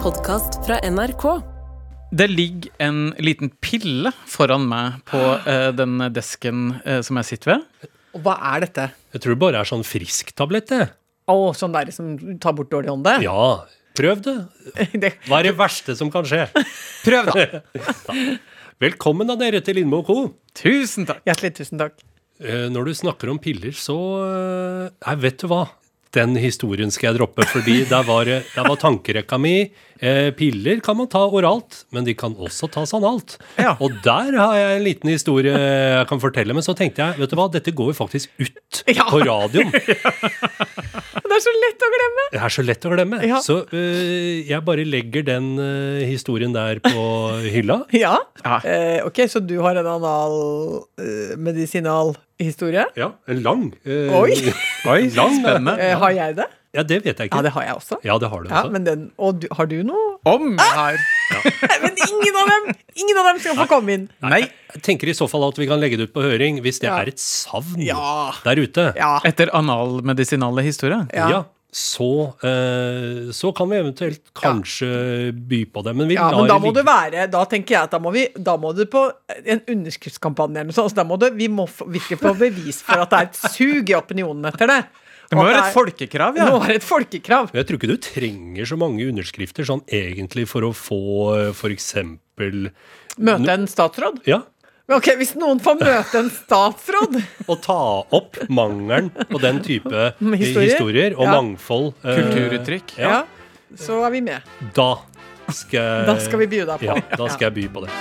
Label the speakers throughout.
Speaker 1: podkast fra NRK.
Speaker 2: Det ligger en liten pille foran meg på eh, den desken eh, som jeg sitter ved.
Speaker 3: Og hva er dette?
Speaker 4: Jeg tror det bare er sånn frisktablett, det.
Speaker 3: Å, sånn der som tar bort dårlig ånde?
Speaker 4: Ja, prøv det.
Speaker 3: Det,
Speaker 4: Hva er det verste som kan skje?
Speaker 3: prøv, da.
Speaker 4: Velkommen da dere til Lindmo Co.
Speaker 2: Tusen takk!
Speaker 3: Hjertelig tusen takk.
Speaker 4: Eh, Når du snakker om piller, så eh, Nei, vet du hva? Den historien skal jeg droppe, fordi der var, eh, der var tankerekka mi. Eh, Piller kan man ta oralt, men de kan også tas analt.
Speaker 3: Ja.
Speaker 4: Og der har jeg en liten historie jeg kan fortelle. Men så tenkte jeg, vet du hva, dette går jo faktisk ut
Speaker 3: Ja.
Speaker 4: på radioen.
Speaker 3: Det er så lett å glemme!
Speaker 4: Det er så lett å glemme.
Speaker 3: Ja.
Speaker 4: Så øh, jeg bare legger den øh, historien der på hylla.
Speaker 3: Ja.
Speaker 2: Ja.
Speaker 3: Eh, ok, så du har en anal eh, medisinal historie?
Speaker 4: Ja, en lang. øh,
Speaker 3: Oi!
Speaker 2: Oi,
Speaker 4: lang
Speaker 2: spennende.
Speaker 3: Eh, har jeg det?
Speaker 4: Ja, det vet jeg ikke.
Speaker 3: Ja, det har jeg også.
Speaker 4: Ja, det har du altså.
Speaker 3: Ja,
Speaker 4: også.
Speaker 3: men den, og du, har du noe?
Speaker 2: Om jeg har
Speaker 3: Nei, men ingen av dem Ingen av dem skal få komme inn!
Speaker 2: Nei,
Speaker 4: Jeg tenker i så fall at vi kan legge det ut på høring, hvis det
Speaker 3: Ja.
Speaker 4: er et savn
Speaker 3: Ja.
Speaker 4: der ute.
Speaker 3: Ja.
Speaker 2: etter analmedisinale historie.
Speaker 3: Ja.
Speaker 4: Ja, så, øh, så kan vi eventuelt kanskje by på det. Men vi
Speaker 3: Ja,
Speaker 4: lar
Speaker 3: men da må
Speaker 4: ligge.
Speaker 3: det være Da tenker jeg at da må vi Da må du på en underskriftskampanje eller noe sånt. Så da må det, vi må f- virkelig få bevis for at det er et sug i opinionen etter det.
Speaker 2: Det må være et folkekrav,
Speaker 3: Nå
Speaker 2: ja.
Speaker 3: er det et folkekrav.
Speaker 4: Jeg tror ikke du trenger så mange underskrifter sånn egentlig for å få f.eks.
Speaker 3: Møte en statsråd?
Speaker 4: Ja,
Speaker 3: Men Ok, Hvis noen får møte en statsråd
Speaker 4: å ta opp mangelen på den type eh,
Speaker 3: Historier?
Speaker 4: historier og
Speaker 3: Ja.
Speaker 4: mangfold. eh,
Speaker 2: Kulturuttrykk.
Speaker 4: Ja,
Speaker 3: ja, så er vi med.
Speaker 4: Da skal,
Speaker 3: Da skal vi by deg på.
Speaker 4: Ja, da skal jeg by på det.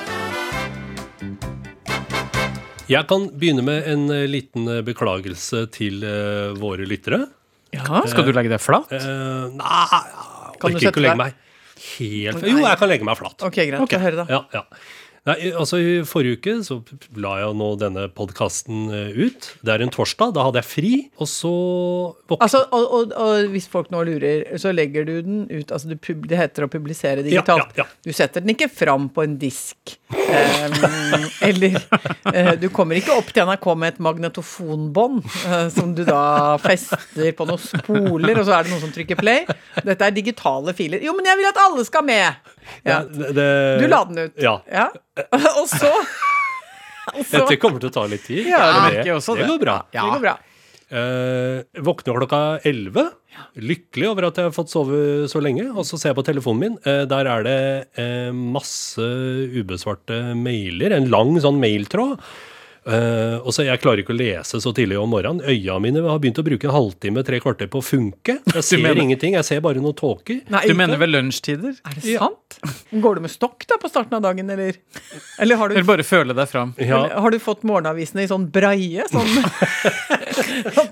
Speaker 4: Jeg kan begynne med en eh, liten eh, beklagelse til eh, våre lyttere.
Speaker 3: Ja.
Speaker 2: Skal du legge deg flat?
Speaker 4: Eh, nei, jeg
Speaker 3: Kan du
Speaker 4: orker ikke
Speaker 3: sette
Speaker 4: å legge
Speaker 3: deg?
Speaker 4: meg helt Jo, jeg kan legge meg flat.
Speaker 3: Ok, greit. Få høre, da.
Speaker 4: Ja, ja. Nei, altså I forrige uke så la jeg nå denne podkasten ut. Det er en torsdag. Da hadde jeg fri. Og så våkna
Speaker 3: Altså, og, og, og hvis folk nå lurer, så legger du den ut altså du pub, Det heter å publisere
Speaker 4: Ja,
Speaker 3: digitalt.
Speaker 4: ja, ja.
Speaker 3: Du setter den ikke fram på en disk. Em, eller eh, du kommer ikke opp til NRK med et magnetofonbånd eh, som du da fester på noen spoler, og så er det noen som trykker play. Dette er digitale filer. Jo, men jeg vil at alle skal med! Ja.
Speaker 4: Det- det-
Speaker 3: Du la den ut.
Speaker 4: Ja.
Speaker 3: Ja. Og så Og så
Speaker 4: Dette kommer til å ta litt tid.
Speaker 2: Ja,
Speaker 4: det,
Speaker 2: det merker jeg også
Speaker 4: det
Speaker 2: det.
Speaker 4: går bra.
Speaker 3: Det går bra.
Speaker 4: Eh, våkner klokka 11. Lykkelig over at jeg har fått sove så lenge. Og så ser jeg på telefonen min. Eh, der er det eh, masse ubesvarte mailer. En lang sånn mailtråd. Eh, og så Jeg klarer ikke å lese så tidlig om morgenen. Øya mine har begynt å bruke en halvtime, tre kvarter på å funke. Jeg ser
Speaker 2: mener-
Speaker 4: ingenting. Jeg ser bare noen tåker.
Speaker 3: Nei,
Speaker 2: Du
Speaker 3: ikke.
Speaker 2: mener ved lunsjtider?
Speaker 3: Er det sant? Går du med stokk da på starten av dagen, eller? Eller har du,
Speaker 2: Eller bare føle deg fram?
Speaker 4: Ja,
Speaker 3: eller har du fått morgenavisene i sånn breie? Sånn, At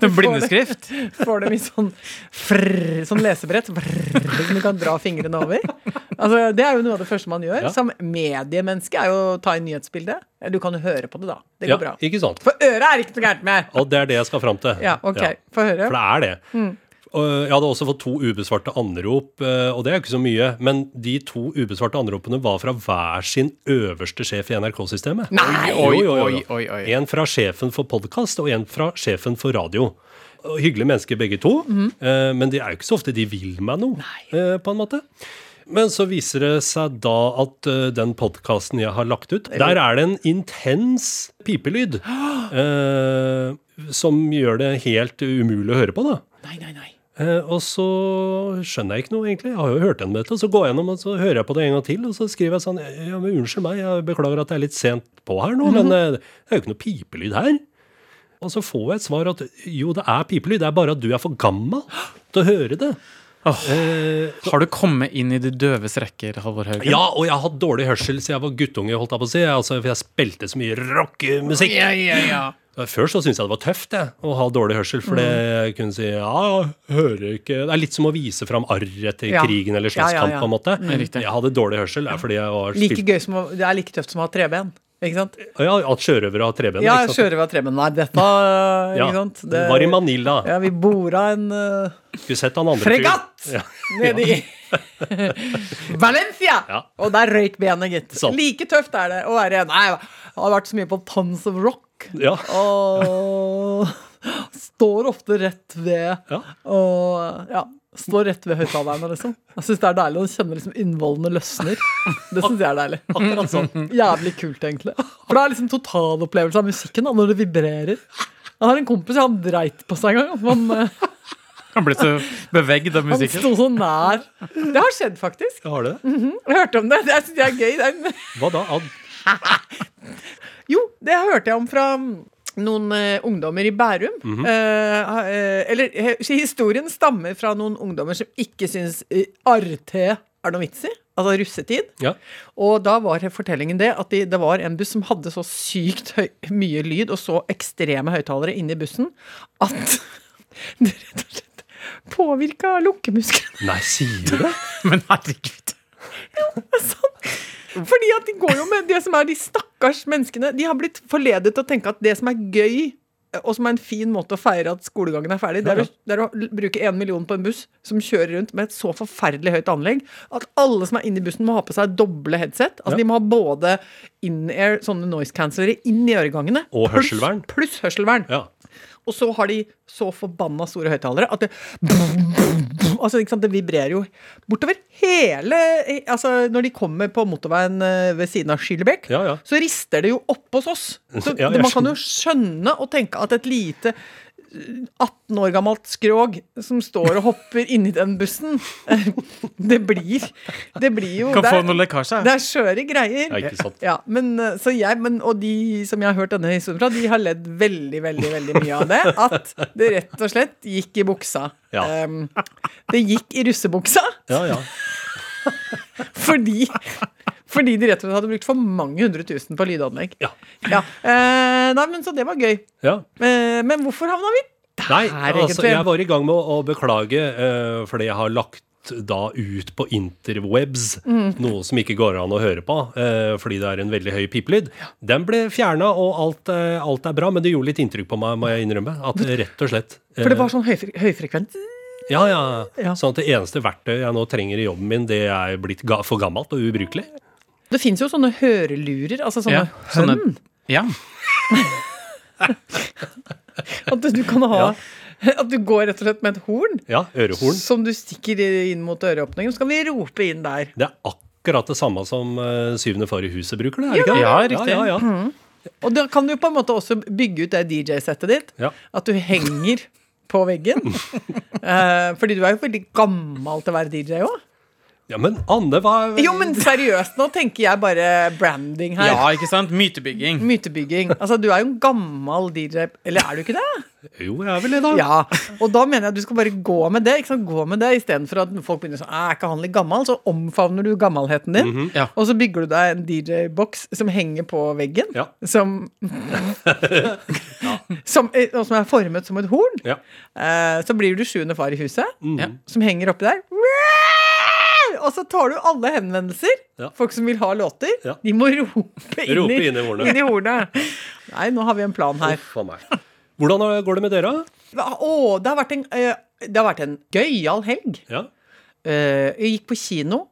Speaker 3: du
Speaker 2: Med blindeskrift?
Speaker 3: Får, dem- får dem i sånn frrr, sånn lesebrett frrr, som du kan dra fingrene over. Altså, det er jo noe av det første man gjør.
Speaker 4: Ja.
Speaker 3: Som mediemenneske er jo å ta inn nyhetsbildet. Eller Du kan jo høre på det, da. Det
Speaker 4: ja
Speaker 3: går bra.
Speaker 4: ikke sant?
Speaker 3: For øret er ikke noe gærent med.
Speaker 4: Og det er det jeg skal fram til.
Speaker 3: Ja, Mm. ok. Få høre.
Speaker 4: For det er det. Og jeg hadde også fått to ubesvarte anrop, eh, og det er jo ikke så mye. Men de to ubesvarte anropene var fra hver sin øverste sjef i NRK-systemet.
Speaker 3: Nei!
Speaker 2: Oi,
Speaker 4: Jo, jo, jo,
Speaker 2: oi,
Speaker 4: jo.
Speaker 2: oi, oi.
Speaker 4: En fra sjefen for podkast og en fra sjefen for radio. Og Hyggelige mennesker begge to, eh, men det er jo ikke så ofte de vil meg noe, eh, på en måte. Men så viser det seg da at eh, den podkasten jeg har lagt ut, der er det en intens pipelyd. eh, som gjør det helt umulig å høre på, da.
Speaker 3: Nei, nei, nei.
Speaker 4: Eh, og så skjønner jeg ikke noe, egentlig. Jeg har jo hørt gjennom dette. Og så går jeg gjennom, og så hører jeg på det en gang til, og så skriver jeg sånn Ja, men unnskyld meg, jeg beklager at jeg er litt sent på her nå, men eh, det er jo ikke noe pipelyd her. Og så får jeg et svar at jo, det er pipelyd, det er bare at du er for gammel til å høre det. Eh,
Speaker 2: Har du kommet inn i de døves rekker, Halvor Haugen?
Speaker 4: ja, og jeg har hatt dårlig hørsel siden jeg var guttunge, holdt jeg på å si. Jeg, altså, for jeg spilte så mye rockemusikk.
Speaker 2: Ja, ja, ja.
Speaker 4: Før så syntes jeg det var tøft jeg, å ha dårlig hørsel, for det
Speaker 3: Mm.
Speaker 4: jeg kunne si ja, jeg hører ikke Det er litt som å vise fram arr etter
Speaker 3: Ja.
Speaker 4: krigen eller
Speaker 3: Ja, ja,
Speaker 4: slåsskamp,
Speaker 3: ja. Mm.
Speaker 4: på en måte.
Speaker 2: Riktig.
Speaker 4: Jeg hadde dårlig hørsel er fordi jeg var
Speaker 3: Like
Speaker 4: spilt-
Speaker 3: gøy som å, det er like tøft som å ha treben. Ikke sant?
Speaker 4: Ja, At sjørøvere har treben.
Speaker 3: Ja,
Speaker 4: ikke sant?
Speaker 3: kjører vi av treben. Nei, dette ikke
Speaker 4: Ja,
Speaker 3: sant?
Speaker 4: det Var i Manila.
Speaker 3: Ja, vi bora en eh,
Speaker 4: Skulle sett han andre fyren.
Speaker 3: fregatt
Speaker 4: Ja.
Speaker 3: nede i Valencia!
Speaker 4: Ja.
Speaker 3: Og der røyk benet, gitt.
Speaker 4: Sant.
Speaker 3: Like tøft er det å være Nei, jeg har vært så mye på Tons of Rock.
Speaker 4: Ja.
Speaker 3: Og står ofte rett ved
Speaker 4: Ja.
Speaker 3: og ja. Står rett ved høyttalerne, liksom. Jeg syns det er deilig. Og du kjenner liksom innvollene løsner. Det syns jeg er deilig.
Speaker 4: Akkurat sånn.
Speaker 3: Jævlig kult, egentlig. For det er liksom totalopplevelse av musikken da, når det vibrerer. Jeg har en kompis, han dreit på seg en gang. Han, eh,
Speaker 2: Han ble så bevegd av
Speaker 3: han
Speaker 2: musikken.
Speaker 3: sto så nær. Det har skjedd, faktisk.
Speaker 4: Jeg har det.
Speaker 3: Jeg hørte om det. Det syns jeg er gøy. Det er en
Speaker 4: Hva da? Ad?
Speaker 3: Jo, det hørte jeg om fra noen eh, ungdommer i Bærum. Eh, eh, eller he- historien stammer fra noen ungdommer som ikke syns eh, RT er noe vits i. Altså russetid.
Speaker 4: Ja.
Speaker 3: Og da var fortellingen det at de, det var en buss som hadde så sykt høy, mye lyd og så ekstreme høyttalere inni bussen at det rett og slett påvirka lukkemusklene.
Speaker 4: Nei, sier du det?
Speaker 2: Men herregud.
Speaker 3: Fordi at de går jo med det som er de stakkars menneskene. De har blitt forledet til å tenke at det som er gøy, eh, og som er en fin måte å feire at skolegangen er ferdig, det er, å, det er å l- bruke én million på en buss som kjører rundt med et så forferdelig høyt anlegg at alle som er inni bussen, må ha på seg doble headset. Altså
Speaker 4: Ja.
Speaker 3: De må ha både in-air, sånne noise cancellere, inn i øregangene.
Speaker 4: Og
Speaker 3: pluss-
Speaker 4: hørselvern.
Speaker 3: Pluss hørselvern.
Speaker 4: Ja.
Speaker 3: Og så har de så forbanna store høyttalere at det Altså, ikke sant, det vibrerer jo bortover hele Altså, når de kommer på motorveien eh, ved siden av Skillebekk,
Speaker 4: Ja, ja.
Speaker 3: så rister det jo opp hos oss. Så
Speaker 4: Ja, jeg
Speaker 3: man kan jo skjønne og tenke at et lite eh, 18 år gammelt skrog som står og hopper inni den bussen Det blir Det blir jo
Speaker 2: Kan
Speaker 3: det
Speaker 2: få
Speaker 3: er-
Speaker 2: noe lekkasje.
Speaker 3: det er skjøre greier.
Speaker 4: Ja, ikke sant.
Speaker 3: Ja, men, eh, så jeg, men, og de som jeg har hørt denne historien fra, de har ledd veldig, veldig veldig mye av det. At det rett og slett gikk i buksa.
Speaker 4: Ja.
Speaker 3: Em, det gikk i russebuksa
Speaker 4: Ja, ja.
Speaker 3: fordi, fordi de rett og slett hadde brukt for mange hundre tusen på lydanlegg.
Speaker 4: Ja.
Speaker 3: Ja, eh, nei, men Så det var gøy.
Speaker 4: ja.
Speaker 3: Eh, men hvorfor havna vi
Speaker 4: Nei,
Speaker 3: Der,
Speaker 4: altså,
Speaker 3: egentlig.
Speaker 4: jeg var i gang med å, å beklage eh, fordi jeg har lagt da ut på interwebs,
Speaker 3: Mm.
Speaker 4: noe som ikke går an å høre på eh, fordi det er en veldig høy pipelyd. Den ble fjerna, og alt, eh, alt er bra, men det gjorde litt inntrykk på meg, må jeg innrømme. At det rett og slett eh,
Speaker 3: For det var sånn høyfre, høyfrekvent.
Speaker 4: ja, ja,
Speaker 3: Ja.
Speaker 4: Sånn at det eneste verktøyet jeg nå trenger i jobben min, det er blitt ga for gammelt og ubrukelig.
Speaker 3: Det fins jo sånne hørelurer. Altså sånne
Speaker 2: Ja, sånne-
Speaker 3: hønn.
Speaker 2: Ja.
Speaker 3: At du kan ha At du går rett og slett med et horn.
Speaker 4: Ja, ørehorn.
Speaker 3: Som du stikker inn mot øreåpningen, så kan vi rope inn der.
Speaker 4: Det er akkurat det samme som eh, syvende far i huset bruker det, er det ikke det?
Speaker 2: Ja, riktig.
Speaker 4: Ja, ja,
Speaker 3: Mm.
Speaker 4: ja.
Speaker 3: Og da kan du på en måte også bygge ut det DJ-settet ditt.
Speaker 4: Ja.
Speaker 3: At du henger på veggen. Eh, fordi du er jo veldig gammel til å være DJ òg.
Speaker 4: ja men Anne, hva
Speaker 3: Jo, men seriøst, nå tenker jeg bare branding her.
Speaker 2: ja, ikke sant? Mytebygging.
Speaker 3: Mytebygging. Altså, du er jo en gammel DJ. Eller er du ikke det?
Speaker 4: Jo, jeg er vel det, da.
Speaker 3: Ja. Og da mener jeg at du skal bare gå med det, ikke sant? Gå med det istedenfor at folk begynner sånn Er ikke han litt gammel? Så omfavner du gammelheten din.
Speaker 4: Mhm.
Speaker 2: Ja.
Speaker 3: Og så bygger du deg en DJ-boks som henger på veggen.
Speaker 4: Ja.
Speaker 3: Som, som, eh, og som er formet som et horn.
Speaker 4: Ja. Mhm.
Speaker 3: Eh, Så blir du sjuende far i huset,
Speaker 2: Ja.
Speaker 3: som henger oppi der. Og så tar du alle henvendelser.
Speaker 4: Ja.
Speaker 3: Folk som vil ha låter.
Speaker 4: Ja.
Speaker 3: De må rope inn,
Speaker 4: Rope
Speaker 3: i,
Speaker 4: inn i hornet.
Speaker 3: inn i hornet. Nei, nå har vi en plan her.
Speaker 4: Uff a meg. Hvordan eh, går det med dere?
Speaker 3: Hva- Å, det har vært en, eh, det har vært en gøyal helg.
Speaker 4: Ja.
Speaker 3: Eh, Jeg gikk på kino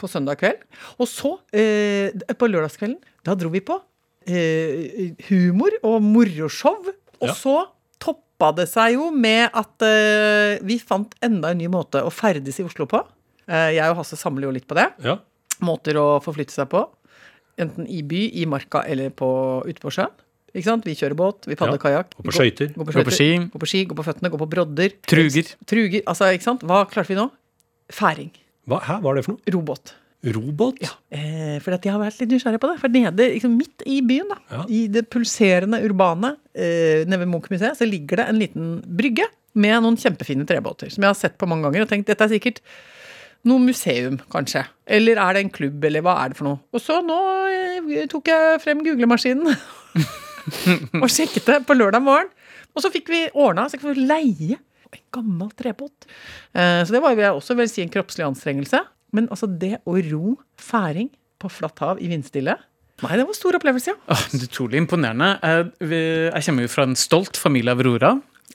Speaker 3: på søndag kveld. Og så, eh, på lørdagskvelden, da dro vi på eh, humor og moroshow. Og
Speaker 4: Ja.
Speaker 3: så toppa det seg jo med at eh, vi fant enda en ny måte å ferdes i Oslo på. Eh, jeg og Hasse samler jo litt på det.
Speaker 4: ja.
Speaker 3: Måter å forflytte seg på. Enten i by, i marka eller på, ute på sjøen. Ikke sant? Vi kjører båt, vi padler
Speaker 4: Ja.
Speaker 3: kajakk.
Speaker 4: Og på skøyter.
Speaker 3: Gå,
Speaker 2: Gå på ski.
Speaker 3: Gå på ski, gå på føttene, gå på brodder.
Speaker 2: Truger.
Speaker 3: Truger. Altså, ikke sant? Hva klarte vi nå? Færing.
Speaker 4: Hva, hæ, hva er det for noe?
Speaker 3: Robåt.
Speaker 4: Robot?
Speaker 3: Eh, for at jeg har vært litt nysgjerrig på det. For nede, liksom midt i byen, da,
Speaker 4: Ja.
Speaker 3: i det pulserende urbane, eh, nede ved Munch-museet, så ligger det en liten brygge med noen kjempefine trebåter. Som jeg har sett på mange ganger og tenkt dette er sikkert noe museum, kanskje. Eller er det en klubb, eller hva er det for noe. Og så nå eh, tok jeg frem googlemaskinen og sjekket det på lørdag morgen. Og så fikk vi ordna, så fikk vi leie en gammel trebåt. Eh, Så det var jo jeg også vil si en kroppslig anstrengelse. Men altså det å ro færing på flatt hav i vindstille Nei, det var en stor opplevelse, ja.
Speaker 2: Åh, det er utrolig imponerende. Jeg, vi- jeg kommer jo fra en stolt familie av Aurora.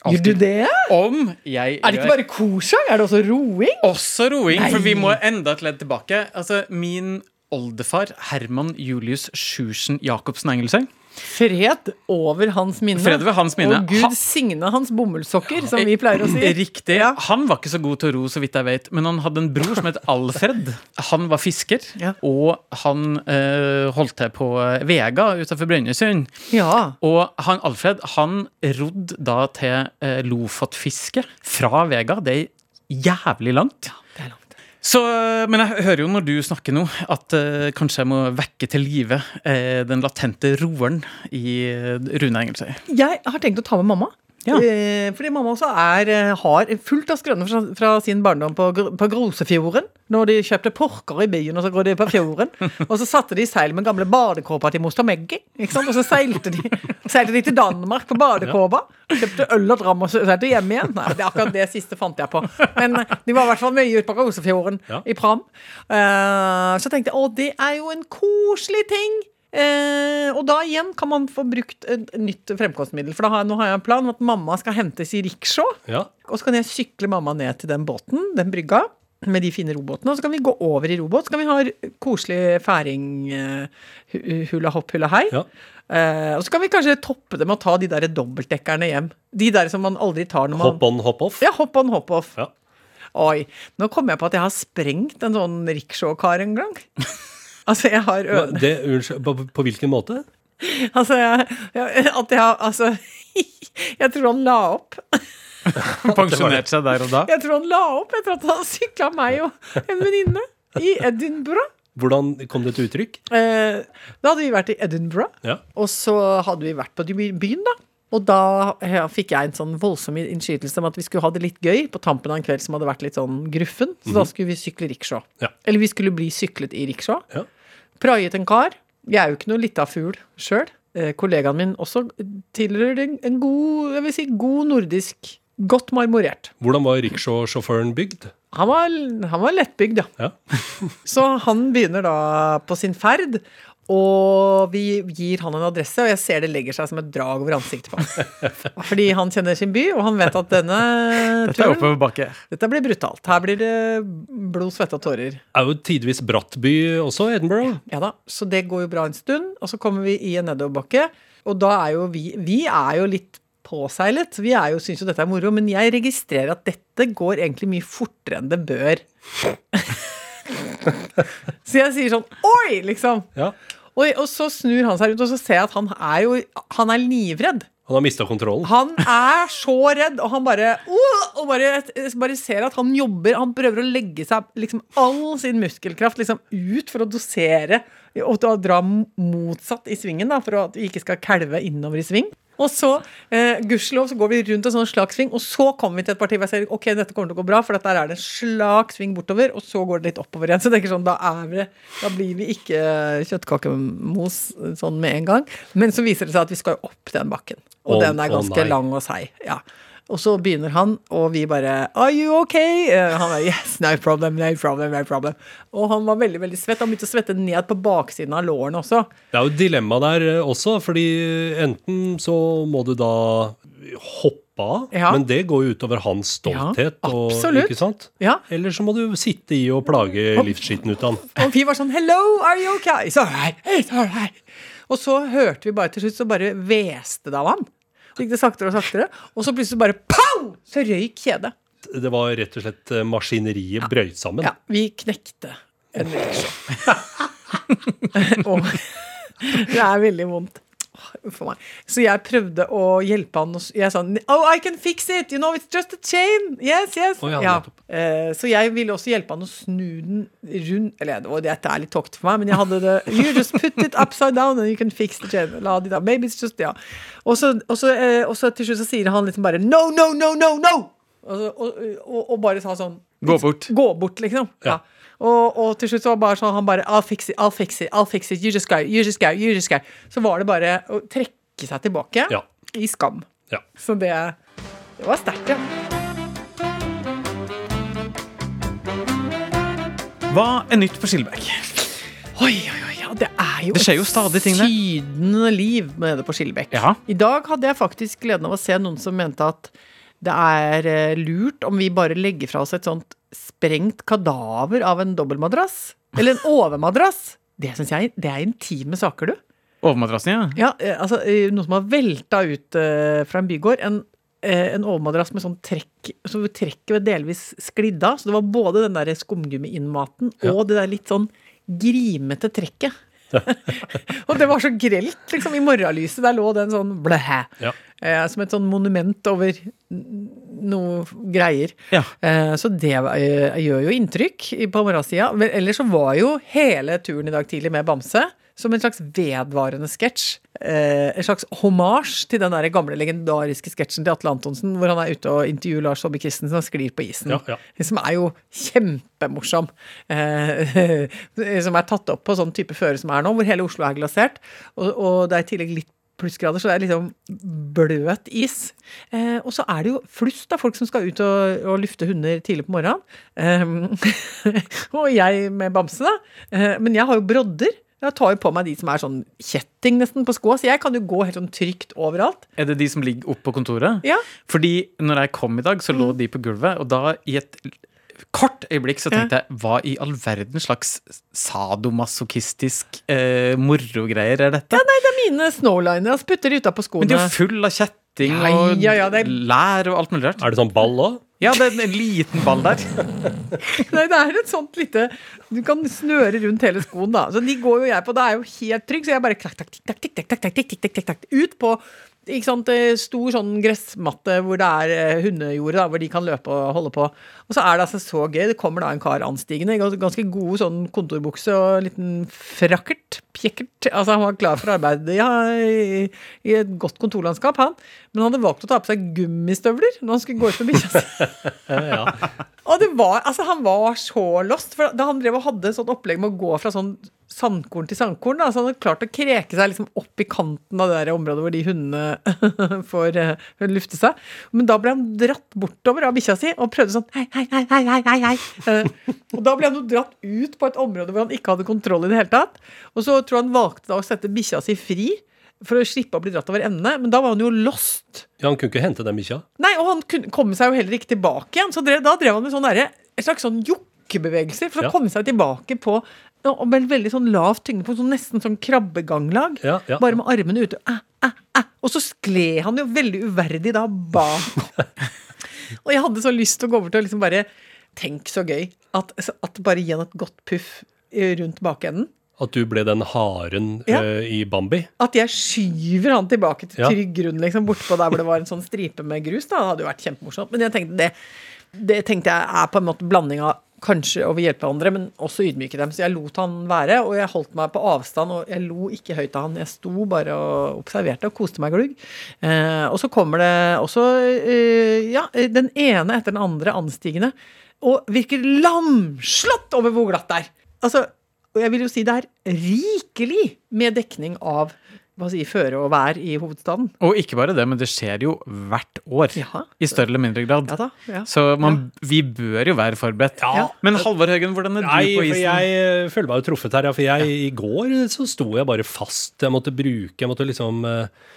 Speaker 3: Gjør du det?
Speaker 2: Om jeg
Speaker 3: Er det ikke bare korsang? Er det også roing?
Speaker 2: Også roing, for vi må enda et ledd tilbake. Altså, min oldefar Herman Julius Sjursen Jacobsen Engelsøy
Speaker 3: Fred over hans minne.
Speaker 2: Fred over hans minne.
Speaker 3: Og Gud
Speaker 2: Ha- Eh,
Speaker 3: signe hans bomullssokker, som vi pleier å si.
Speaker 2: Riktig. Han var ikke så god til å ro, så vidt jeg vet, men han hadde en bror som het Alfred. Han var fisker,
Speaker 3: Ja.
Speaker 2: og han eh, holdt til på Vega utenfor Brønnøysund.
Speaker 3: Ja.
Speaker 2: Og han Alfred han rodd da til eh, Lofotfiske fra Vega. Det er jævlig langt.
Speaker 3: Det er langt.
Speaker 2: Så, eh, men jeg hører jo når du snakker nå, at eh, kanskje jeg må vekke til live eh, den latente roeren i eh, Rune Engelsøy.
Speaker 3: Jeg har tenkt å ta med mamma.
Speaker 2: Ja.
Speaker 3: Eh, Fordi mamma også er, eh, har fullt av skrøner fra, fra sin barndom på, Gr- på Grosefjorden. Når de kjøpte porker i byen, og så går de på fjorden. Og så satte de i seil med gamle badekåpa til moster Meggy. ikke sant? Og så seilte de, seilte de til Danmark på badekåpa. Kjøpte øl og dram og så seilte hjem igjen. Nei, det er akkurat det siste fant jeg på. Men eh, de var i hvert fall mye ute på Grosefjorden
Speaker 4: Ja.
Speaker 3: i Pram. Eh, Så tenkte jeg å, det er jo en koselig ting. Eh, og da igjen kan man få brukt et nytt fremkomstmiddel. For da har jeg, nå har jeg en plan om at mamma skal hentes i rickshaw.
Speaker 4: Ja.
Speaker 3: Og så kan jeg sykle mamma ned til den båten, den brygga, med de fine robåtene. Og så kan vi gå over i robåt. Så kan vi ha r- koselig færing, eh, hu- hula hopp, hula hei.
Speaker 4: Ja.
Speaker 3: Eh, og så kan vi kanskje toppe det med å ta de der dobbeltdekkerne hjem. De der som man aldri tar når man
Speaker 4: Hopp on, hopp off.
Speaker 3: Ja, hopp on, hopp off.
Speaker 4: Ja.
Speaker 3: Oi. Nå kom jeg på at jeg har sprengt en sånn rickshaw-kar en gang. altså, jeg har ødelagt
Speaker 4: Det, unnskyld, på, på hvilken måte?
Speaker 3: Altså, jeg, jeg, at jeg har Altså, jeg tror han la opp.
Speaker 2: Pensjonerte seg der og da.
Speaker 3: Jeg tror han la opp etter at han sykla meg og en venninne i Edinburgh.
Speaker 4: Hvordan kom det til uttrykk?
Speaker 3: Eh, da hadde vi vært i Edinburgh,
Speaker 4: Ja.
Speaker 3: og så hadde vi vært på de- byen, da. Og da eh, fikk jeg en sånn voldsom innskytelse om at vi skulle ha det litt gøy på tampen av en kveld som hadde vært litt sånn gruffen. Så da skulle vi sykle rickshaw.
Speaker 4: Mhm. Ja.
Speaker 3: Eller vi skulle bli syklet i rickshaw.
Speaker 4: Ja.
Speaker 3: Praiet en kar. Jeg er jo ikke noe lita fugl sjøl. Eh, kollegaen min også tilhører en, en god, jeg vil si, god nordisk. Godt marmorert.
Speaker 4: Hvordan var rickshaw-sjåføren bygd?
Speaker 3: Han var, han var lettbygd, ja.
Speaker 4: Ja.
Speaker 3: Så han begynner da på sin ferd, og vi gir han en adresse, og jeg ser det legger seg som et drag over ansiktet på ham. Fordi han kjenner sin by, og han vet at denne
Speaker 2: Dette er
Speaker 3: turen
Speaker 2: oppoverbakke.
Speaker 3: Dette blir brutalt. Her blir det blod, svette og tårer.
Speaker 4: Er jo tidvis bratt by også, Edinburgh.
Speaker 3: Ja da, Så det går jo bra en stund, og så kommer vi i en nedoverbakke. Og da er jo vi Vi er jo litt påseilet. Vi er jo, syns jo dette er moro, men jeg registrerer at dette går egentlig mye fortere enn det bør. så jeg sier sånn Oi! liksom.
Speaker 4: Ja.
Speaker 3: Oi, og så snur han seg rundt, og så ser jeg at han er jo Han er livredd.
Speaker 4: Han har mista kontrollen.
Speaker 3: Han er så redd, og han bare «Åh!» Og bare, bare ser at han jobber. Han prøver å legge seg liksom all sin muskelkraft liksom ut for å dosere og da dra motsatt i svingen, da, for at vi ikke skal kelve innover i sving. Og så, eh, gudskjelov, så går vi rundt en sånn slak sving, og så kommer vi til et parti hvor jeg ser ok, dette kommer til å gå bra, for dette her er det en slak sving bortover, og så går det litt oppover igjen. Så jeg tenker sånn, da, er vi, da blir vi ikke kjøttkakemos sånn med en gang. Men så viser det seg at vi skal jo opp den bakken, og
Speaker 4: Å,
Speaker 3: den er
Speaker 4: å
Speaker 3: ganske
Speaker 4: nei.
Speaker 3: lang lang og seig. Ja. Og så begynner han, og vi bare Are you okay? Eh, Han er yes, no problem, no problem, no problem. Og han var veldig veldig svett. Han begynte å svette ned på baksiden av lårene også.
Speaker 4: Det er jo et dilemma der eh, også, fordi enten så må du da hoppe av,
Speaker 3: Ja.
Speaker 4: men det går jo utover hans stolthet.
Speaker 3: Ja,
Speaker 4: og,
Speaker 3: absolutt.
Speaker 4: Ikke sant?
Speaker 3: Ja.
Speaker 4: Eller så må du sitte i og plage livsskitten ut av han.
Speaker 3: Og vi var sånn Hello, are you okay? It's all right, it's all right. Og så hørte vi bare til slutt, så bare hveste det av han. Så gikk det saktere og saktere, og så plutselig bare pow! Så røyk kjedet.
Speaker 4: Det var rett og slett eh, maskineriet brøyt sammen.
Speaker 3: Ja, vi knekte en reaksjon. og det er veldig vondt. Åh, For meg. Så jeg prøvde å hjelpe han. og s- Jeg sa Oh, I can fix it! You know, it's just a chain! Yes, yes!
Speaker 4: Å, ja, nettopp.
Speaker 3: Eh, Så jeg ville også hjelpe han å snu den rundt Eller det var- dette er litt tåkt for meg, men jeg hadde det You just put it upside down and you can fix the chain. La de da. Maybe it's just Ja. Og så, og så, eh, og så til slutt så sier han liksom bare No, no, no, no, no! Og, så- og, og, og bare sa sånn
Speaker 2: Gå bort.
Speaker 3: gå bort, liksom. Ja. Og, og til slutt så var det bare sånn han bare I'll fix it, I'll fix it, I'll fix it, you just go, you just go, you just go. Så var det bare å trekke seg tilbake
Speaker 4: Ja.
Speaker 3: i skam.
Speaker 4: Ja.
Speaker 3: Så det, det var sterkt, ja.
Speaker 2: Hva er nytt på Skillebekk?
Speaker 3: Oi, oi, oi, ja, det er jo
Speaker 2: Det skjer
Speaker 3: et
Speaker 2: jo stadig ting der.
Speaker 3: sydende liv nede på Skillebekk.
Speaker 2: Ja.
Speaker 3: I dag hadde jeg faktisk gleden av å se noen som mente at det er eh, lurt om vi bare legger fra oss et sånt sprengt kadaver av en dobbeltmadrass. Eller en overmadrass. Det syns jeg det er intime saker, du.
Speaker 2: Overmadrassen, ja.
Speaker 3: Ja, eh, altså eh, Noe som har velta ut eh, fra en bygård. En, eh, en overmadrass med sånn trekk Så trekket var delvis sklidd av. Så det var både den der skumgummiinnmaten og det der litt sånn grimete trekket. og det var så grelt, liksom. I morgenlyset der lå den sånn blæh.
Speaker 4: Ja.
Speaker 3: Eh, som et sånn monument over n- noe greier.
Speaker 2: Ja.
Speaker 3: Eh, så det var- eh, gjør jo inntrykk i- på morgensida. Men Ellers så var jo hele turen i dag tidlig med Bamse som en slags vedvarende sketsj. Eh, en slags homasj til den der gamle legendariske sketsjen til Atle Antonsen hvor han er ute og intervjuer Lars Saabye Christensen og sklir på isen.
Speaker 4: Ja, ja.
Speaker 3: Som er jo kjempemorsom. Eh, som er tatt opp på sånn type føre som er nå, hvor hele Oslo er glasert. Og, og det er i tillegg litt plussgrader, så det er liksom bløt is. Eh, og så er det jo flust av folk som skal ut og, og lufte hunder tidlig på morgenen. Eh, og jeg med bamse, da. Eh, men jeg har jo brodder. Jeg tar jo på meg de som er sånn kjetting nesten på skoa, så jeg kan jo gå helt sånn trygt overalt.
Speaker 2: Er det de som ligger oppe på kontoret?
Speaker 3: Ja.
Speaker 2: Fordi når jeg kom i dag, så lå de på gulvet, og da i et kort øyeblikk så tenkte jeg hva i all verden slags sadomasochistisk eh, morogreier er dette?
Speaker 3: Det er mine snowliner. Altså putter de utapå
Speaker 2: Men de
Speaker 3: skoene.
Speaker 2: er jo full av kjetting
Speaker 3: Ja,
Speaker 2: og
Speaker 3: ja, ja, det er-
Speaker 2: lær og alt mulig rart.
Speaker 4: Er det sånn ball òg?
Speaker 2: Ja, det er en liten ball der.
Speaker 3: Nei, det er et sånt lite Du kan snøre rundt hele skoen, da. Så de går jo jeg på. Da er jeg jo helt trygg, så jeg bare klakk, takk, tikk, takk, tikk, takk, takk, tikk, tikk, tikk, tikk, takk, Ut på ikke sant, eh, stor sånn gressmatte hvor det er eh, hundejorde, da, hvor de kan løpe og holde på. Og så er det altså så gøy. Det kommer da en kar anstigende i gans- ganske god sånn kontorbukse og en liten frakkert, pjekkert. Altså han var klar for arbeid ja, i, i et godt kontorlandskap, han. Men han hadde valgt å ta på seg gummistøvler når han skulle gå ut med bikkja si. Og det var, altså han var så lost. For da han drev og hadde sånn opplegg med å gå fra sånn sandkorn til sandkorn, da, så han hadde klart å kreke seg liksom opp i kanten av det der området hvor de hundene får eh, lufte seg. Men da ble han dratt bortover av bikkja si og prøvde sånn hei, hei, hei, hei, hei, hei, hei. Eh, og da ble han jo dratt ut på et område hvor han ikke hadde kontroll i det hele tatt. Og så tror jeg han valgte da å sette bikkja si fri for å slippe å bli dratt over ende, men da var han jo lost.
Speaker 4: Ja, han kunne ikke hente den bikkja.
Speaker 3: Nei, og han kunne, kom seg jo heller ikke tilbake igjen. Så drev, da drev han med sånn derre- en slags sånn jokkebevegelser for
Speaker 4: Ja.
Speaker 3: å komme seg tilbake på ja, og med en veldig sånn lav tyngdepunkt, sånn nesten sånn krabbeganglag.
Speaker 4: Ja, ja.
Speaker 3: Bare med armene ute. Ah, ah, ah. Og så skled han jo veldig uverdig da bak. og jeg hadde så lyst til å gå over til å liksom bare Tenk så gøy at, at bare gi han et godt puff eh, rundt bakenden.
Speaker 4: At du ble den haren
Speaker 3: Ja.
Speaker 4: eh, i Bambi.
Speaker 3: At jeg skyver han tilbake til
Speaker 4: Ja.
Speaker 3: trygg grunn, liksom, bortpå der hvor det var en sånn stripe med grus. Da. Det hadde jo vært kjempemorsomt. Men jeg tenkte det, det tenkte jeg er på en måte blanding av kanskje å hjelpe hverandre, men også ydmyke dem. Så jeg lot han være, og jeg holdt meg på avstand, og jeg lo ikke høyt av han. Jeg sto bare og observerte og koste meg glugg. Eh, og så kommer det også, eh, ja, den ene etter den andre anstigende, og virker lamslått over hvor glatt det er. Altså, og jeg vil jo si det er rikelig med dekning av hva sier, føre og vær i hovedstaden.
Speaker 2: Og ikke bare det, men det skjer jo hvert år.
Speaker 3: Ja.
Speaker 2: I større eller mindre grad.
Speaker 3: Ja da, ja.
Speaker 2: Så man, vi bør jo være forberedt.
Speaker 4: Ja.
Speaker 2: Men Halvor Høgen, hvordan er du
Speaker 4: Nei,
Speaker 2: på
Speaker 4: for
Speaker 2: isen?
Speaker 4: jeg eh, føler meg jo truffet her. Ja, for jeg, i går så sto jeg bare fast. Jeg måtte bruke Jeg måtte liksom eh,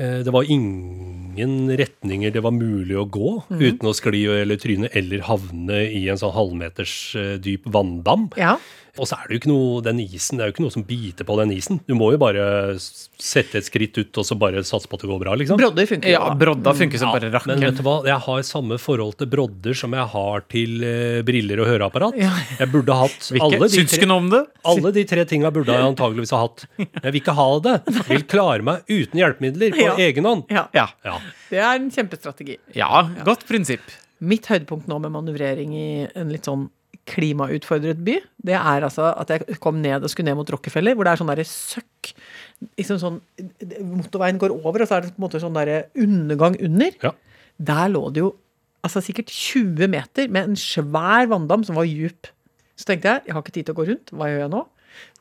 Speaker 4: eh, Det var ingen retninger det var mulig å gå
Speaker 2: Mhm.
Speaker 4: uten å skli eller tryne eller havne i en sånn halvmeters eh, dyp vanndam.
Speaker 3: Ja.
Speaker 4: Og så er det jo ikke noe Den isen, det er jo ikke noe som biter på den isen. Du må jo bare s- sette et skritt ut og så bare satse på at det går bra, liksom.
Speaker 3: Brodder funker
Speaker 2: Ja,
Speaker 3: jo. da.
Speaker 2: Brodda funker som bare
Speaker 4: Men vet
Speaker 2: rakkeren.
Speaker 4: du hva, jeg har samme forhold til brodder som jeg har til eh, briller og høreapparat. Jeg burde hatt alle
Speaker 2: Hvilke?
Speaker 4: de
Speaker 2: Syns
Speaker 4: tre.
Speaker 2: ikke noe om det?
Speaker 4: Alle de tre tinga burde jeg antageligvis ha hatt. Jeg vil ikke ha det. Vil klare meg uten hjelpemidler på
Speaker 3: Ja.
Speaker 4: egen hånd.
Speaker 3: Ja,
Speaker 2: Ja.
Speaker 4: Ja.
Speaker 3: Det er en kjempestrategi.
Speaker 2: ja. Godt prinsipp.
Speaker 3: Mitt høydepunkt nå med manøvrering i en litt sånn klimautfordret by, det er altså at jeg kom ned og skulle ned mot Rockefeller, hvor det er sånn derre søkk. Liksom sånn, motorveien går over, og så er det på en måte sånn derre undergang under.
Speaker 4: Ja.
Speaker 3: Der lå det jo altså sikkert 20 meter med en svær vanndam som var djup. Så tenkte jeg jeg har ikke tid til å gå rundt, hva gjør jeg nå?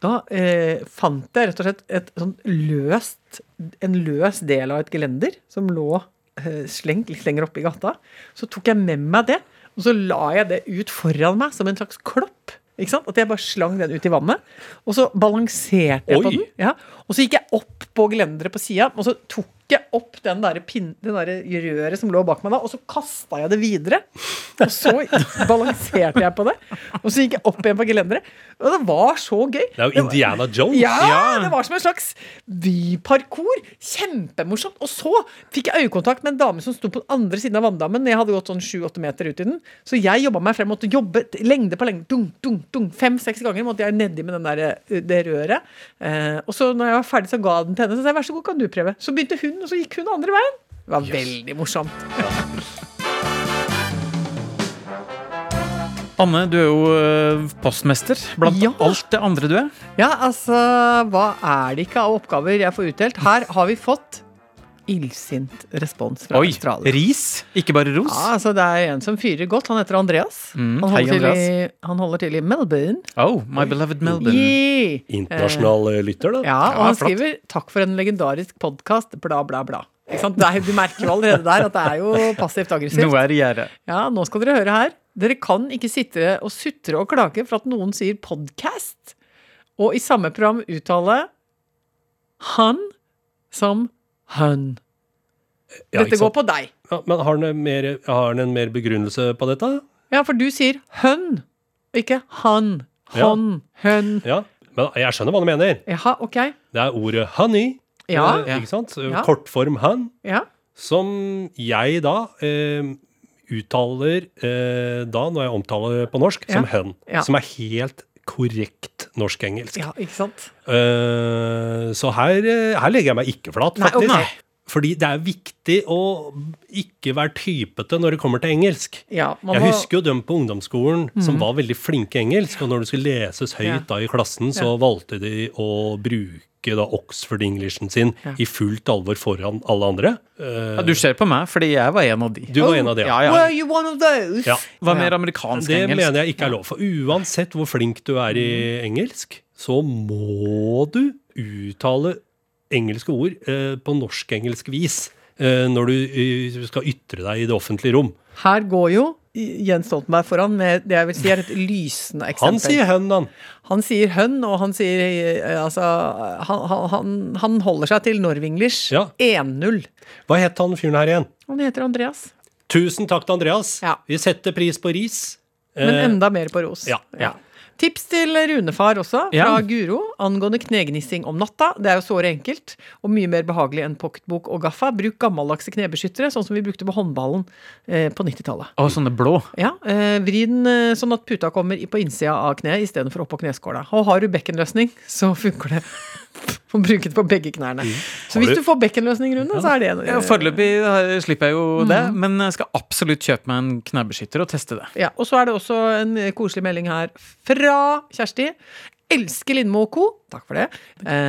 Speaker 3: Da eh, fant jeg rett og slett et sånn løst, en løs del av et gelender som lå eh, slengt litt lenger oppe i gata. Så tok jeg med meg det, og så la jeg det ut foran meg som en slags klopp. Ikke sant? At jeg bare slang den ut i vannet. Og så balanserte jeg på
Speaker 4: Oi!
Speaker 3: den. Ja. Og så gikk jeg opp på gelenderet på sida, og så tok ikke opp den der pin, det der røret som lå bak meg da, og så kasta jeg det videre. Og så balanserte jeg på det, og så gikk jeg opp igjen på gelenderet. Og det var så gøy.
Speaker 4: Det er jo
Speaker 3: var-
Speaker 4: Indiana Jones.
Speaker 3: Ja,
Speaker 2: Ja.
Speaker 3: Det var som en slags byparkour. Kjempemorsomt. Og så fikk jeg øyekontakt med en dame som sto på den andre siden av vanndammen. Jeg hadde gått sånn 7-8 meter ut i den. Så jeg jobba meg frem. Måtte jobbe t- lengde på lengde. Dung, dung, dung. Fem-seks ganger måtte jeg nedi med den der, eh, det røret. Eh, og så når jeg var ferdig, så ga jeg den til henne. Så sa jeg vær så god, kan du prøve? Så begynte hun, og så gikk hun andre veien. Det var veldig morsomt.
Speaker 2: Anne, du er jo eh, postmester blant
Speaker 3: Ja.
Speaker 2: alt det andre du er.
Speaker 3: Ja, altså, hva er det ikke av oppgaver jeg får utdelt? Her har vi fått illsint respons fra
Speaker 2: Oi,
Speaker 3: Australia.
Speaker 2: ris, ikke bare ros.
Speaker 3: Ja, altså Det er en som fyrer godt. Han heter Andreas.
Speaker 2: Mm, hei,
Speaker 3: han, holder Til i,
Speaker 2: Andreas.
Speaker 3: han holder til i Melbourne.
Speaker 2: Oh, my beloved Melbourne.
Speaker 3: Yeah.
Speaker 4: Internasjonal eh, lytter, da.
Speaker 3: Ja, og
Speaker 2: Ja,
Speaker 3: han
Speaker 2: flott.
Speaker 3: skriver 'takk for en legendarisk podkast', bla, bla, bla. Ikke sant? Det er, du merker jo allerede der at det er jo passivt aggressivt.
Speaker 2: Noe er i gjære.
Speaker 3: Ja, nå skal dere høre her. Dere kan ikke sitte og sutre og klage for at noen sier 'podkast', og i samme program uttale 'han' som 'hun'.
Speaker 4: Ja,
Speaker 3: Dette
Speaker 4: ikke
Speaker 3: går
Speaker 4: sant?
Speaker 3: på deg.
Speaker 4: Ja, men har han, en mer, har han en mer begrunnelse på dette?
Speaker 3: Ja, for du sier 'hun', ikke 'han'.
Speaker 4: Ja.
Speaker 3: Hånd, hun.
Speaker 4: Ja, men jeg skjønner hva han mener.
Speaker 3: Jaha, ok.
Speaker 4: Det er ordet 'honey',
Speaker 3: Ja,
Speaker 4: eh, ikke sant?
Speaker 3: Ja.
Speaker 4: Kortform 'hun',
Speaker 3: ja.
Speaker 4: som jeg da eh, uttaler eh, da, når jeg omtaler på norsk, som
Speaker 3: Ja.
Speaker 4: 'hun'.
Speaker 3: Ja.
Speaker 4: Som er helt korrekt norsk-engelsk.
Speaker 3: ja ikke sant?
Speaker 4: Eh, så her, eh, her legger jeg meg ikke flat,
Speaker 3: Nei,
Speaker 4: faktisk.
Speaker 3: ok.
Speaker 4: Fordi det er viktig å ikke være typete når det kommer til engelsk.
Speaker 3: Ja, man
Speaker 4: Jeg
Speaker 3: må- Mm.
Speaker 4: husker jo dem på ungdomsskolen som var veldig flinke i engelsk, og når det skulle leses høyt
Speaker 3: Ja.
Speaker 4: da i klassen, så valgte de å bruke da Oxford-englishen sin
Speaker 3: Ja.
Speaker 4: i fullt alvor foran alle andre. Eh,
Speaker 2: Ja, du ser på meg, fordi jeg var en av de.
Speaker 4: du var en av de.
Speaker 2: Ja, ja.
Speaker 3: Were you one of those?
Speaker 4: Ja.
Speaker 2: Var mer
Speaker 3: Ja.
Speaker 2: amerikansk
Speaker 4: Det
Speaker 2: engelsk.
Speaker 4: mener jeg ikke er lov. For uansett hvor flink du er i
Speaker 3: Mm.
Speaker 4: engelsk, så må du uttale engelske ord eh, på norsk-engelsk vis eh, når du eh, skal ytre deg i det offentlige rom.
Speaker 3: Her går jo Jens Stoltenberg foran med det jeg vil si er et lysende eksempel.
Speaker 4: Han sier 'hen', han.
Speaker 3: Han sier hønn, og han sier eh, altså, han, han- han, han holder seg til Norwenglish.
Speaker 4: Ja.
Speaker 3: 1-0.
Speaker 4: Hva het han fyren her igjen?
Speaker 3: Han heter Andreas.
Speaker 4: Tusen takk til Andreas.
Speaker 3: Ja.
Speaker 4: Vi setter pris på ris.
Speaker 3: Men
Speaker 4: Eh,
Speaker 3: enda mer på ros.
Speaker 4: ja, ja.
Speaker 3: Tips til Runefar også, fra
Speaker 2: Ja.
Speaker 3: Guro, angående knegnissing om natta. Det er jo såre enkelt, og mye mer behagelig enn pocketbok og gaffa. Bruk gammeldagse knebeskyttere, sånn som vi brukte på håndballen eh, på 90-tallet.
Speaker 2: Å, sånne blå.
Speaker 3: Ja, eh, Vri den eh, sånn at puta kommer i- på innsida av kneet istedenfor oppå kneskåla. Og har du bekkenløsning, så funker det. Får bruke det på begge knærne. Så
Speaker 4: Har
Speaker 3: hvis
Speaker 4: du-
Speaker 3: du får bekkenløsning, Rune, så er det en
Speaker 2: Ja, Foreløpig eh, slipper jeg jo det, men jeg skal absolutt kjøpe meg en knebeskytter og teste det.
Speaker 3: Ja, og så er det også en eh, koselig melding her fra Kjersti. Elsker Lindmo og co. Takk for det.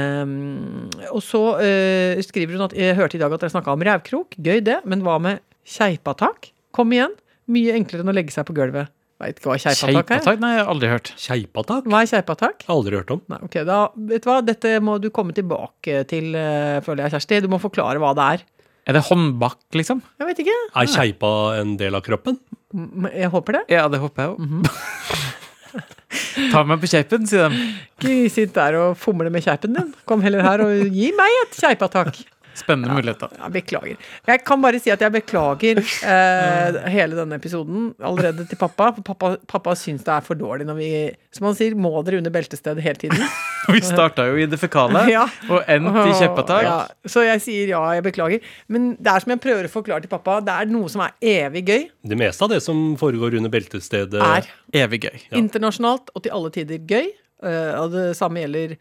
Speaker 3: Ehm, og så eh, skriver hun at jeg hørte i dag at dere snakka om rævkrok. Gøy det, men hva med keipatak? Kom igjen. Mye enklere enn å legge seg på gulvet. Veit ikke hva keipatak er.
Speaker 2: Kjeipatak? Nei, jeg har aldri hørt.
Speaker 4: Keipatak?
Speaker 3: Hva er keipatak?
Speaker 4: Aldri hørt om.
Speaker 3: Nei, ok, da, vet du hva? Dette må du komme tilbake til, eh, føler jeg, Kjersti. Du må forklare hva det er.
Speaker 2: Er det håndbak, liksom?
Speaker 3: Jeg vet ikke.
Speaker 4: Er keipa en del av kroppen?
Speaker 3: M- Jeg håper det.
Speaker 2: Ja, det håper jeg jo. Mhm. Ta meg på kjeipen, sier de.
Speaker 3: Ikke sitt der og fomle med kjeipen din. Kom heller her og gi meg et keipatak.
Speaker 2: Spennende muligheter.
Speaker 3: Ja, beklager. Jeg kan bare si at jeg beklager eh, hele denne episoden allerede til pappa. For pappa, pappa syns det er for dårlig når vi, som han sier, må dere under beltestedet hele tiden.
Speaker 2: Vi starta jo i det fekale
Speaker 3: Ja.
Speaker 2: og endte i kjeipatak.
Speaker 3: Ja, så jeg sier ja, jeg beklager. Men det er som jeg prøver å forklare til pappa, det er noe som er evig gøy.
Speaker 4: Det meste av det som foregår under beltestedet
Speaker 3: Er
Speaker 2: Evig gøy.
Speaker 3: internasjonalt og til alle tider gøy. eh, og det samme gjelder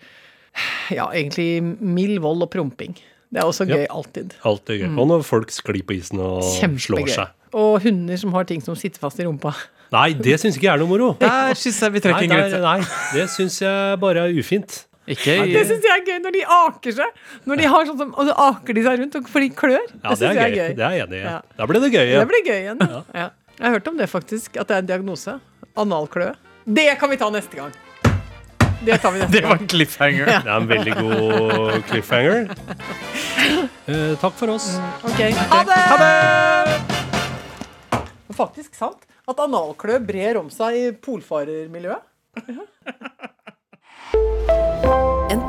Speaker 3: ja, egentlig mild vold og promping. Det er også
Speaker 4: Ja.
Speaker 3: gøy alltid.
Speaker 4: Alt er gøy. Og når folk sklir på isen og slår
Speaker 3: Mm. Kjempegøy.
Speaker 4: seg.
Speaker 3: Og hunder som har ting som sitter fast i rumpa.
Speaker 4: Nei, det syns ikke jeg er noe moro.
Speaker 2: Der syns jeg vi trekker
Speaker 4: Nei,
Speaker 2: en
Speaker 4: nei,
Speaker 2: grense.
Speaker 4: nei, det syns jeg bare er ufint.
Speaker 2: Ikke i-
Speaker 3: Det syns jeg er gøy når de aker seg. Når de har sånn som, Og så aker de seg rundt og- for de klør.
Speaker 4: Ja, det
Speaker 3: synes
Speaker 4: er
Speaker 3: jeg
Speaker 4: gøy. Det er jeg enig i.
Speaker 3: Ja.
Speaker 4: Da ble det gøy.
Speaker 3: Det
Speaker 4: Ja.
Speaker 3: blir gøy igjen. Ja. Jeg har hørt om det, faktisk. At det er en diagnose. Analkløe. Det kan vi ta neste gang. Det tar vi neste
Speaker 2: Det var
Speaker 3: gang.
Speaker 2: en cliffhanger.
Speaker 4: Det er en veldig god cliffhanger. Eh, takk for oss.
Speaker 3: Ok, Ha det! Det er Faktisk sant at analkløe brer om seg i polfarermiljøet.
Speaker 1: En